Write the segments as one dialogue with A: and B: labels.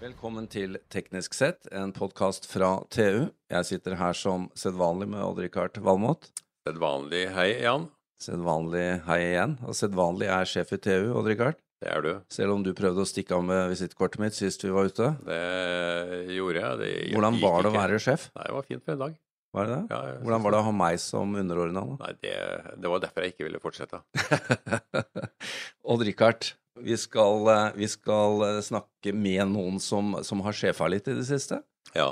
A: Velkommen til Teknisk sett, en podkast fra TU. Jeg sitter her som sedvanlig med Odd-Rikard Valmot.
B: Sedvanlig hei, Jan.
A: Sedvanlig hei igjen. Og sedvanlig er sjef i TU, Odd-Rikard.
B: Det er du.
A: Selv om du prøvde å stikke av med visittkortet mitt sist vi var ute.
B: Det gjorde jeg. Det gikk
A: Hvordan var det å
B: ikke.
A: være sjef?
B: Nei, det var fint for en dag.
A: Var det det?
B: Ja, jeg
A: Hvordan
B: synes
A: var det å ha meg som underordna? da?
B: Nei, det, det var derfor jeg ikke ville fortsette.
A: Odd-Rikard, vi, skal, eh, vi skal eh, snakke med noen som, som har sjefa litt i det siste,
B: Ja.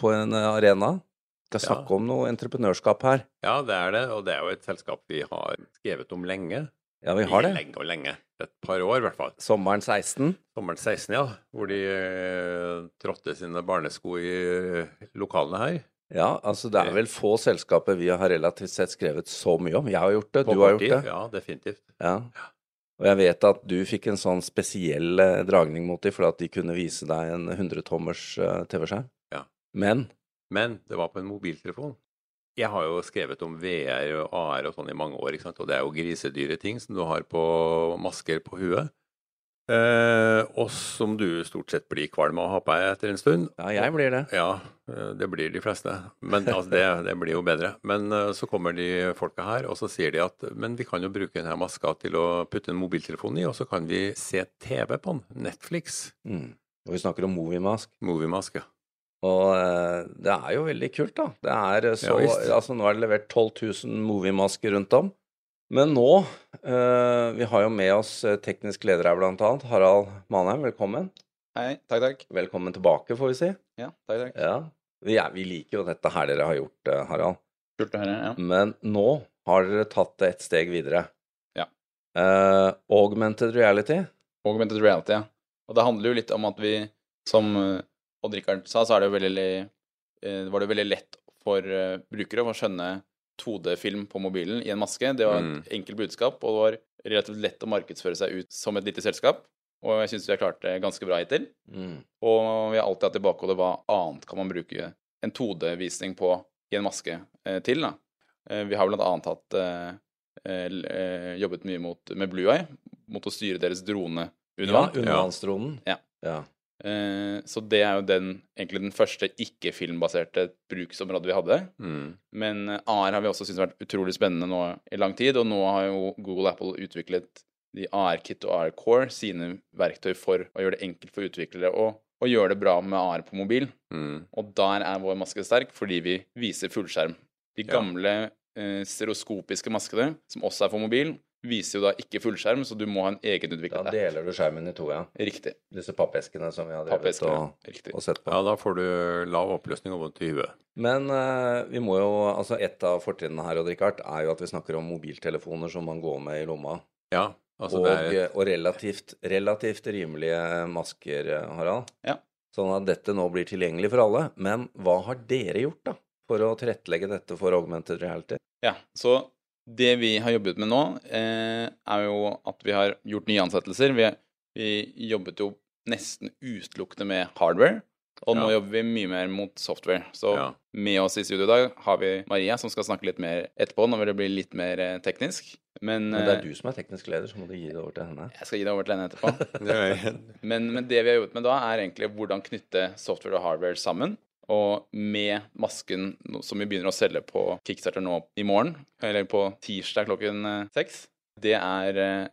A: på en eh, arena. Vi skal
B: Ja.
A: snakke om noe entreprenørskap her.
B: ja, det er det. Og det er jo et selskap vi har skrevet om lenge.
A: Ja, vi har det.
B: Lenge og lenge. Et par år, i hvert fall.
A: Sommeren 16.
B: Sommeren 16, ja. Hvor de eh, trådte sine barnesko i eh, lokalene her.
A: Ja, altså det er vel få selskaper vi har relativt sett skrevet så mye om. Jeg har gjort det,
B: På
A: du har
B: kort
A: gjort
B: tid.
A: det.
B: Ja, definitivt.
A: Ja. Og jeg vet at du fikk en sånn spesiell eh, dragning mot dem, for at de kunne vise deg en 100-tommers eh, TV-skjerm.
B: Ja.
A: Men
B: Men det var på en mobiltelefon. Jeg har jo skrevet om VR og AR og sånn i mange år, ikke sant? og det er jo grisedyre ting som du har på masker på huet. Eh, og som du stort sett blir kvalm av å ha på deg etter en stund.
A: ja, jeg blir det.
B: Ja, eh, det blir de fleste. Men altså, det, det blir jo bedre. Men eh, så kommer de folka her, og så sier de at men vi kan jo bruke denne maska til å putte en mobiltelefon i, og så kan vi se TV på den. Netflix.
A: Mm. Og vi snakker om Movimask.
B: Moviemaske.
A: Og eh, det er jo veldig kult, da. Det er eh, så
B: Ja, visst.
A: Altså, nå er det levert 12 000 moviemasker rundt om. Men nå eh, Vi har jo med oss eh, teknisk leder her, blant annet. Harald Manheim, velkommen.
C: Hei. Takk, takk.
A: Velkommen tilbake, får vi si.
C: Ja, takk, takk.
A: Ja. Vi, er, vi liker jo dette her dere har gjort, eh, Harald.
C: Kult å høre. Ja.
A: Men nå har dere tatt det et steg videre.
C: Ja.
A: Eh, augmented reality.
C: Augmented reality, ja. Og det handler jo litt om at vi, som eh, Odd-Rikard sa, så er det jo veldig, eh, var det jo veldig lett for eh, brukere å skjønne 2D-film på mobilen i en maske. Det var et enkelt budskap, og det var relativt lett å markedsføre seg ut som et lite selskap. Og jeg syns vi har klart det ganske bra hittil.
A: Mm.
C: Og vi har alltid hatt i bakhodet hva annet kan man bruke en 2D-visning på i en maske eh, til. Da. Eh, vi har blant annet hatt eh, eh, eh, jobbet mye mot, med Blue Eye, mot å styre deres drone under
A: Ja,
C: vann.
A: undervannsdronen.
C: Ja.
A: ja.
C: Eh, så det er jo den, egentlig den første ikke-filmbaserte bruksområdet vi hadde.
B: Mm.
C: Men eh, AR har vi også syntes vært utrolig spennende nå i lang tid, og nå har jo Google og Apple utviklet de AR-kit og AR-core, sine verktøy for å gjøre det enkelt for utviklere å, å gjøre det bra med AR på mobil.
B: Mm.
C: Og der er vår maske sterk, fordi vi viser fullskjerm. De
B: Ja.
C: gamle eh, stereoskopiske maskene, som også er for mobil, viser jo da ikke fullskjerm, så du må ha en
A: Da
C: egenutviklet app.
A: deler du skjermen i to, ja.
C: Riktig.
A: Disse pappeskene som vi har drevet
C: Pappeskene.
A: og,
C: Riktig.
A: og sett på.
B: Ja, da får du lav oppløsning og vondt i huet.
A: Men eh, vi må jo, altså et av fortrinnene her Odd Rikard, er jo at vi snakker om mobiltelefoner som man går med i lomma.
B: Ja, altså
A: og eh,
B: det er
A: og relativt, relativt rimelige masker, eh, Harald.
C: Ja.
A: Sånn at dette nå blir tilgjengelig for alle. Men hva har dere gjort da, for å tilrettelegge dette for augmented reality?
C: Ja, så det vi har jobbet med nå, eh, er jo at vi har gjort nye ansettelser. Vi, vi jobbet jo nesten utelukkende med hardware, og nå
B: Ja.
C: jobber vi mye mer mot software. Så
B: Ja.
C: med oss i studio i dag har vi Maria, som skal snakke litt mer etterpå, når det blir litt mer eh, teknisk. Men,
A: Men det
C: eh,
A: er du som er teknisk leder, så må du gi det over til henne.
C: Jeg skal gi deg over til henne etterpå.
B: Det
C: Men, men det vi har jobbet med da, er egentlig hvordan knytte software og hardware sammen. Og med masken no- som vi begynner å selge på Kickstarter nå i morgen, eller på tirsdag klokken eh, seks, det er eh,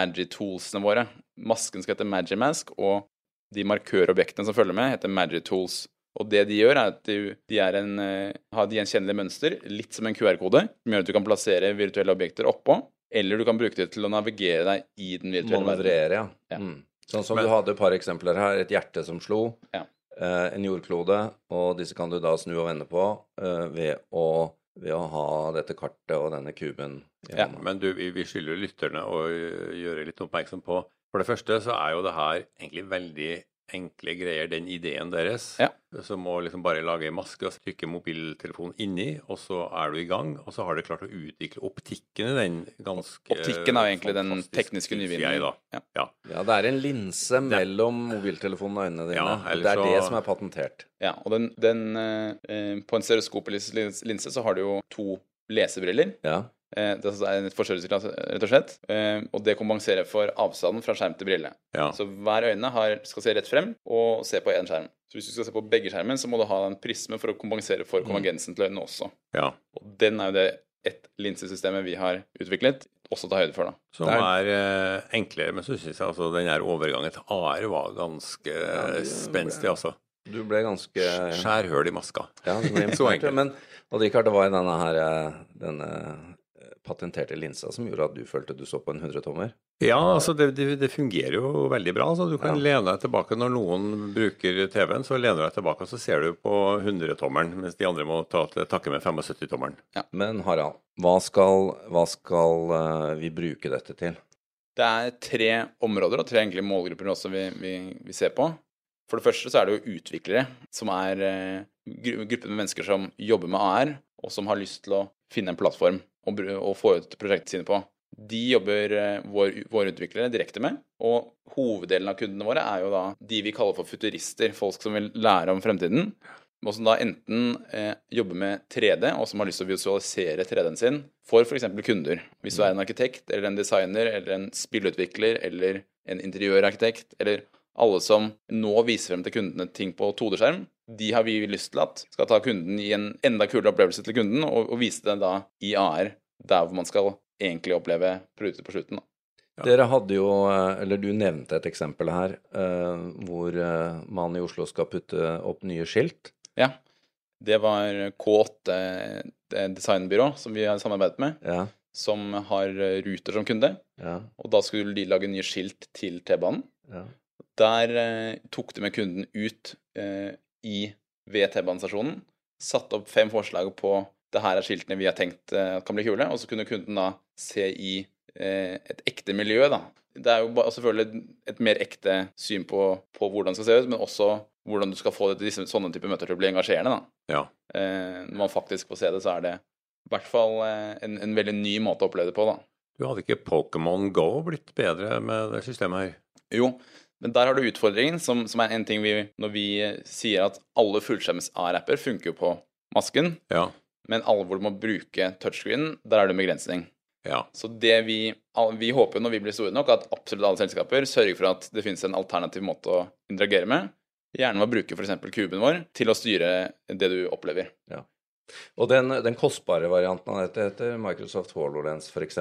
C: Magitoolsene våre. Masken skal hete Magimask, og de markørobjektene som følger med, heter Magitools. Og det de gjør, er at de, de er en, eh, har et gjenkjennelig mønster, litt som en QR-kode, som gjør at du kan plassere virtuelle objekter oppå, eller du kan bruke det til å navigere deg i den virtuelle verden.
A: Manøvrere, ja.
C: Ja.
A: Mm. Sånn som
B: Men-
A: du hadde et par eksempler her. Et hjerte som slo,
C: Ja.
A: eh, en jordklode, og disse kan du da snu og vende på eh, ved, å, ved å ha dette kartet og denne kuben i
C: Ja,
A: hånda.
B: Men du, vi vi skylder lytterne å gjøre litt oppmerksom på For det første så er jo det her egentlig veldig enkle greier, den ideen deres.
C: Ja.
B: Som å liksom bare lage en maske og trykke mobiltelefonen inni, og så er du i gang. Og så har dere klart å utvikle optikken i den ganske
C: Optikken er jo egentlig den
B: fantastisk,
C: tekniske
B: synes
C: nyvinningen.
B: jeg, da.
C: Ja.
B: Ja.
A: Ja, det er en linse mellom mobiltelefonen og øynene dine.
B: Ja, eller
A: det er
B: så-
A: det som er patentert.
C: Ja, og den, den eh, eh, På en stereoskopisk lins- linse så har du jo to lesebriller.
A: Ja.
C: Eh, Det er en forstørrelsesglass, rett og slett. Eh, Og det kompenserer for avstanden fra skjerm til brille.
B: Ja.
C: Så hver øyne har, skal se rett frem og se på én skjerm. Så hvis du skal se på begge skjermen, så må du ha en prisme for å kompensere for
B: Mm.
C: konvergensen til øynene også.
B: ja.
C: Og den er jo det ett linsesystemet vi har utviklet, også ta høyde for, da.
B: Som
A: Det
B: er eh, enklere, men så syns jeg altså den her overgangen til AR var ganske eh,
A: det-
B: spenstig, altså.
A: Du ble ganske
B: Skjærhull i maska.
A: ja, du ble
B: Så
A: imponert.
B: enkelt.
A: Men Odd-Rikard, det var jo denne her eh, denne eh, patenterte linsa som gjorde at du følte du så på en 100-tommer.
B: Ja, altså det, det, det fungerer jo veldig bra. Altså. Du kan lene deg tilbake når noen bruker TV-en, så lener du deg tilbake og så ser du på 100-tommeren, mens de andre må ta til takke med 75-tommeren.
A: Men Harald, hva skal, hva skal eh, vi bruke dette til?
C: Det er tre områder og tre enkle målgrupper også vi, vi, vi ser på. For det første så er det jo utviklere, som er eh, gru- gruppen med mennesker som jobber med AR, og som har lyst til å finne en plattform og, bru- og få ut prosjektene sine på. De jobber eh, vår, våre utviklere direkte med, og hoveddelen av kundene våre er jo da de vi kaller for futurister, folk som vil lære om fremtiden, og som da enten eh, jobber med 3D, og som har lyst til å visualisere 3D-en sin, for f.eks. kunder. Hvis du er en arkitekt eller en designer eller en spillutvikler eller en interiørarkitekt eller alle som nå viser frem til kundene ting på 2D-skjerm, de har vi lyst til at skal ta kunden i en enda kulere opplevelse til kunden, og, og vise den da i AR, der hvor man skal egentlig oppleve produktet på slutten. Da.
B: Ja.
A: Dere hadde jo, eh, eller du nevnte et eksempel her, eh, hvor eh, man i Oslo skal putte opp nye skilt.
C: Ja. Det var K8 eh, designbyrå som vi har samarbeidet med,
A: Ja,
C: som har eh, Ruter som kunde.
A: ja,
C: Og da skulle de lage nye skilt til T-banen.
A: ja.
C: Der eh, tok de med kunden ut eh, i, ved T-banestasjonen, satte opp fem forslag på det her er skiltene vi har tenkt eh, kan bli kule, og så kunne kunden da se i eh, et ekte miljø, da. Det er jo ba- selvfølgelig et mer ekte syn på, på hvordan det skal se ut, men også hvordan du skal få det til disse, sånne typer møter til å bli engasjerende, da.
B: Ja.
C: Eh, når man faktisk får se det, så er det i hvert fall eh, en, en veldig ny måte å oppleve det på, da.
B: Du hadde ikke Pokémon Go blitt bedre med det systemet her?
C: Jo, men der har du utfordringen, som, som er en ting vi Når vi eh, sier at alle fullskjerms A-rapper funker jo på masken,
B: Ja.
C: men alle hvor du må bruke touchscreen, der er det en begrensning.
B: Ja.
C: Så det vi, all- vi håper jo når vi blir store nok, at absolutt alle selskaper sørger for at det finnes en alternativ måte å interagere med. Gjerne ved å bruke f.eks. kuben vår til å styre det du opplever.
A: Og den, den kostbare varianten av dette heter Microsoft HoloLens f.eks.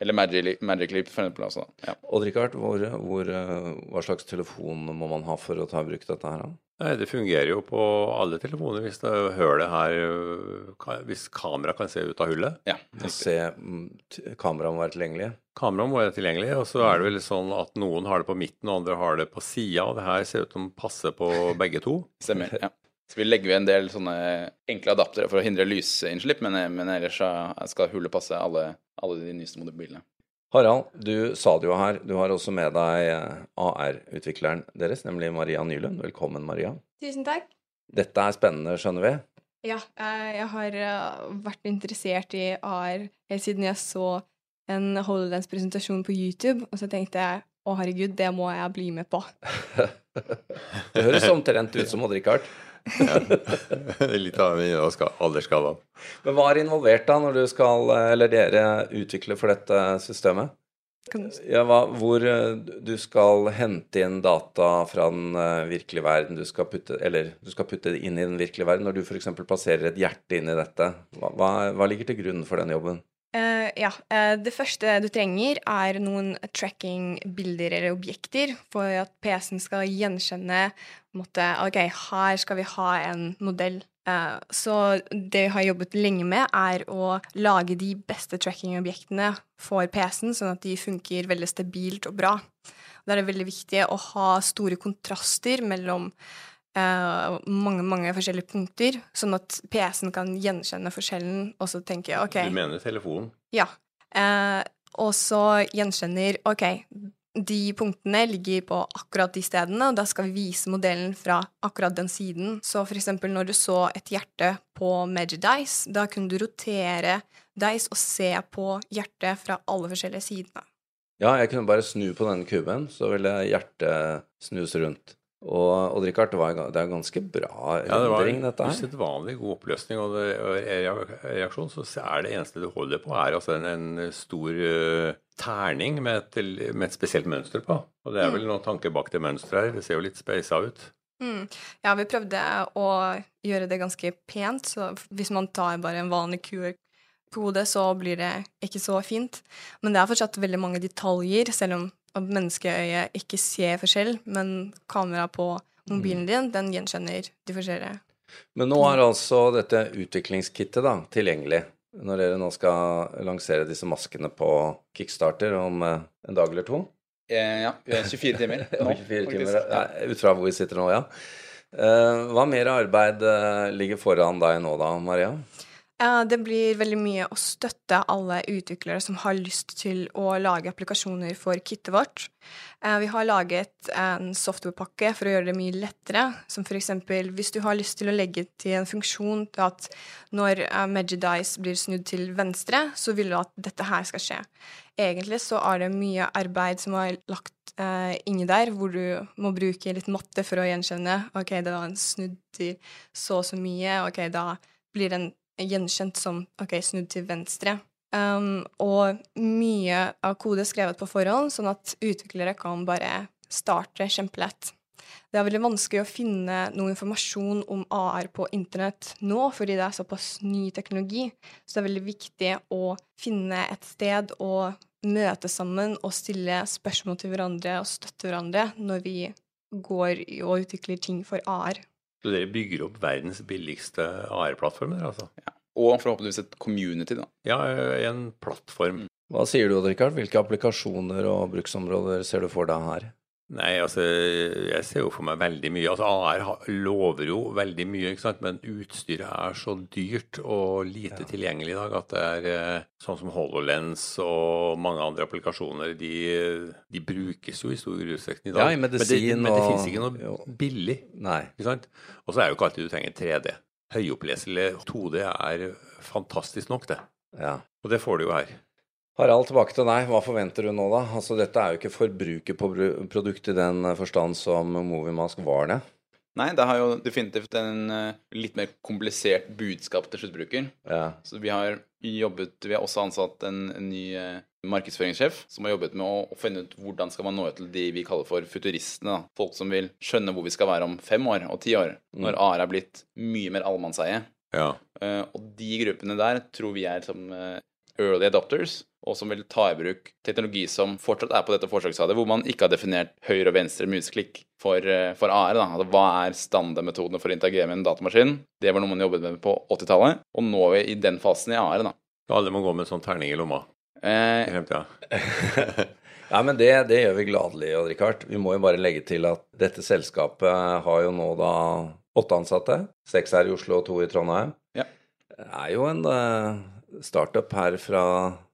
C: Eller Magic, Magic Leap, for eksempel. Også. da. Ja.
A: Odd-Rikard, hvor, hvor, eh, hva slags telefon må man ha for å ta i bruk dette her? da?
B: Nei, det fungerer jo på alle telefoner hvis det hølet her øh, ka- Hvis kameraet kan se ut av hullet.
C: Ja,
A: Å
C: riktig.
A: se mm, t- kameraet må være tilgjengelig.
B: Kameraet må være tilgjengelig, og så er det vel sånn at noen har det på midten, og andre har det på sida. og Det her ser ut som passer på begge to.
C: Stemmer. ja. Så vi legger jo en del sånne enkle adaptere for å hindre lysinnslipp, men, eh, men ellers så skal hullet passe alle, alle de nyeste mobilene.
A: Harald, du sa det jo her, du har også med deg eh, AR-utvikleren deres, nemlig Maria Nylund. Velkommen, Maria.
D: Tusen takk.
A: Dette er spennende, skjønner vi.
D: Ja, eh, jeg har eh, vært interessert i AR helt siden jeg så en HoloLens-presentasjon på YouTube, og så tenkte jeg å herregud, det må jeg bli med på.
A: Det høres omtrent ut som Odd-Rikard.
B: Litt av aldersskalaen.
A: Men hva er involvert da, når du skal, eh, eller dere utvikler for dette systemet?
D: Kan-
A: Ja, hva, hvor eh, du skal hente inn data fra den eh, virkelige verden, du skal putte, eller du skal putte det inn i den virkelige verden. Når du f.eks. plasserer et hjerte inn i dette, hva, hva, hva ligger til grunn for den jobben?
D: Eh, ja. eh, det første du trenger, er noen tracking-bilder eller objekter for at PC-en skal gjenkjenne på en måte, Ok, her skal vi ha en modell. Eh, så det vi har jobbet lenge med, er å lage de beste tracking-objektene for PC-en, sånn at de funker veldig stabilt og bra. Da er det veldig viktig å ha store kontraster mellom eh, mange mange forskjellige punkter, sånn at PC-en kan gjenkjenne forskjellen og så tenke ok
B: Du mener telefonen?
D: ja. Eh, og så gjenkjenner Ok, de punktene ligger på akkurat de stedene, og da skal vi vise modellen fra akkurat den siden. Så for eksempel når du så et hjerte på Magic Dice, da kunne du rotere Dice og se på hjertet fra alle forskjellige sidene.
A: Ja, jeg kunne bare snu på denne kuben, så ville hjertet snus rundt. Og, og Richard, det, var, ga- det er ganske bra
B: Ja, det var
A: rendring,
B: en
A: dette her.
B: usedvanlig god oppløsning. Og det- og re- reaksjon så er det eneste du holder på, er altså en, en stor eh, terning med et, med et spesielt mønster på. Og det er vel noen tanker bak det mønsteret her. Det ser jo litt speisa ut.
D: Mm. Ja, vi prøvde å gjøre det ganske pent, så hvis man tar bare en vanlig QR-kode, så blir det ikke så fint. Men det er fortsatt veldig mange detaljer, selv om at menneskeøyet ikke ser forskjell, men kameraet på mobilen din, den gjenkjenner de forskjellige.
A: Men nå er altså dette utviklingskittet da, tilgjengelig. Når dere nå skal lansere disse maskene på Kickstarter om eh, en dag eller to.
C: Eh, ja, vi er 24 timer nå.
A: Om 24 timer,
C: faktisk. Ja.
A: nei, Ut fra hvor vi sitter nå, ja. Eh, Hva mer arbeid eh, ligger foran deg nå da, Maria?
D: Ja, det blir veldig mye å støtte alle utviklere som har lyst til å lage applikasjoner for kittet vårt. Eh, Vi har laget en softwarepakke for å gjøre det mye lettere, som f.eks. hvis du har lyst til å legge til en funksjon til at når eh, Magidice blir snudd til venstre, så vil du at dette her skal skje. Egentlig så er det mye arbeid som er lagt eh, inni der, hvor du må bruke litt matte for å gjenkjenne. OK, det var en snudd til så og så mye. OK, da blir den gjenkjent som ok, snudd til venstre. Um, og mye av kode er skrevet på forhånd, sånn at utviklere kan bare starte kjempelett. Det er veldig vanskelig å finne noe informasjon om AR på internett nå, fordi det er såpass ny teknologi. Så det er veldig viktig å finne et sted å møte sammen og stille spørsmål til hverandre og støtte hverandre når vi går i- og utvikler ting for AR.
B: Så dere bygger opp verdens billigste AR-plattformer, altså?
C: Og forhåpentligvis et community, da.
B: Ja, ø, en plattform.
A: Hva sier du, Odd Rikard? Hvilke applikasjoner og bruksområder ser du for deg her?
B: Nei, altså, jeg ser jo for meg veldig mye. Altså, AR ha- lover jo veldig mye, ikke sant? men utstyret er så dyrt og lite tilgjengelig i dag at det er eh, sånn som HoloLens og mange andre applikasjoner, de, de brukes jo i stor utstrekning i dag.
A: Ja, i
B: men det,
A: medisin
B: men det
A: og-
B: finnes ikke noe
A: jo.
B: billig.
A: Nei.
B: Ikke sant? Og så er jo ikke alltid du trenger 3D. Høyoppleselig 2D er fantastisk nok, det.
A: Ja.
B: Og det får du jo her.
A: Harald, tilbake til deg. Hva forventer du nå, da? Altså, dette er jo ikke forbruket på bru- produkt i den forstand som Movimask var det.
C: Nei, det har jo definitivt en eh, litt mer komplisert budskap til sluttbruker.
A: Ja.
C: Så vi har jobbet Vi har også ansatt en, en ny eh, markedsføringssjef som har jobbet med å, å finne ut hvordan skal man nå ut til de vi kaller for futuristene. Da. Folk som vil skjønne hvor vi skal være om fem år og ti år, når AR er blitt mye mer allemannseie.
B: Ja.
C: Eh, og de gruppene der tror vi er som eh, early adopters, og som vil ta i bruk teknologi som fortsatt er på dette forsøksstadiet, hvor man ikke har definert høyre og venstre museklikk for, eh, for AR. Da. Altså, hva er standardmetodene for å interagere med en datamaskin? Det var noe man jobbet med på 80-tallet, og nå er vi i den fasen i AR. Da.
B: Alle må gå med en sånn terning i lomma i
C: Eh,
B: fremtida.
A: Nei, men det, det gjør vi gladelig, Odd Rikard. Vi må jo bare legge til at dette selskapet har jo nå da åtte ansatte. Seks her i Oslo og to i Trondheim.
C: Ja.
A: Det er jo en eh, startup her fra,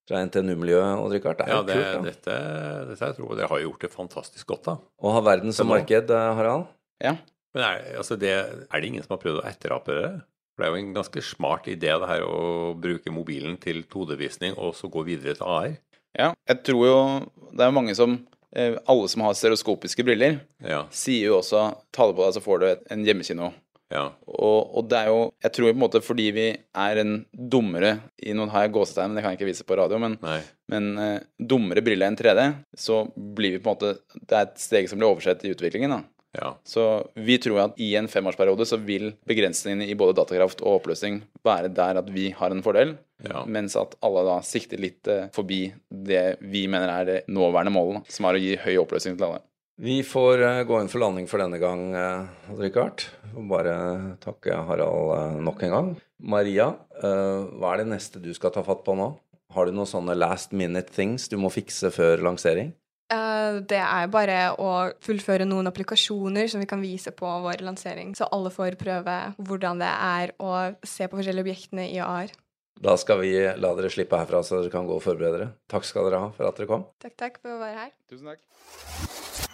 A: fra NTNU-miljøet, Odd Rikard. Det er
B: Ja,
A: jo
B: det,
A: kult. Da.
B: dette, dette jeg tror dere har gjort det fantastisk godt, da.
A: Å ha verden som
B: Det må-
A: marked, eh, Harald.
C: ja.
B: Men er, altså det, er det ingen som har prøvd å etterape det? For det er jo en ganske smart idé det her å bruke mobilen til 2D-visning og så gå videre til AR.
C: ja. Jeg tror jo det er mange som eh, Alle som har stereoskopiske briller,
B: Ja,
C: sier jo også ta det på deg, så får du et, en hjemmekino.
B: ja.
C: Og, og det er jo Jeg tror på en måte fordi vi er en dummere i noen har jeg gåsetegn, men det kan jeg ikke vise på radio, men,
B: Nei.
C: men eh, dummere briller enn 3D, så blir vi på en måte Det er et steg som blir oversett i utviklingen, da.
B: Ja.
C: Så vi tror at i en femårsperiode så vil begrensningene i både datakraft og oppløsning være der at vi har en fordel,
B: Ja.
C: mens at alle da sikter litt eh, forbi det vi mener er det nåværende målet, da, som er å gi høy oppløsning til alle.
A: Vi får eh, gå inn for landing for denne gang, eh, Odd Rikard. Får Bare takke Harald eh, nok en gang. Maria, eh, hva er det neste du skal ta fatt på nå? Har du noen sånne last minute things du må fikse før lansering?
D: Eh, Det er bare å fullføre noen applikasjoner som vi kan vise på vår lansering, så alle får prøve hvordan det er å se på forskjellige objektene i AR.
A: Da skal vi la dere slippe herfra, så dere kan gå og forberede dere. Takk skal dere ha for at dere kom.
D: Takk, takk for å være her.
C: Tusen takk.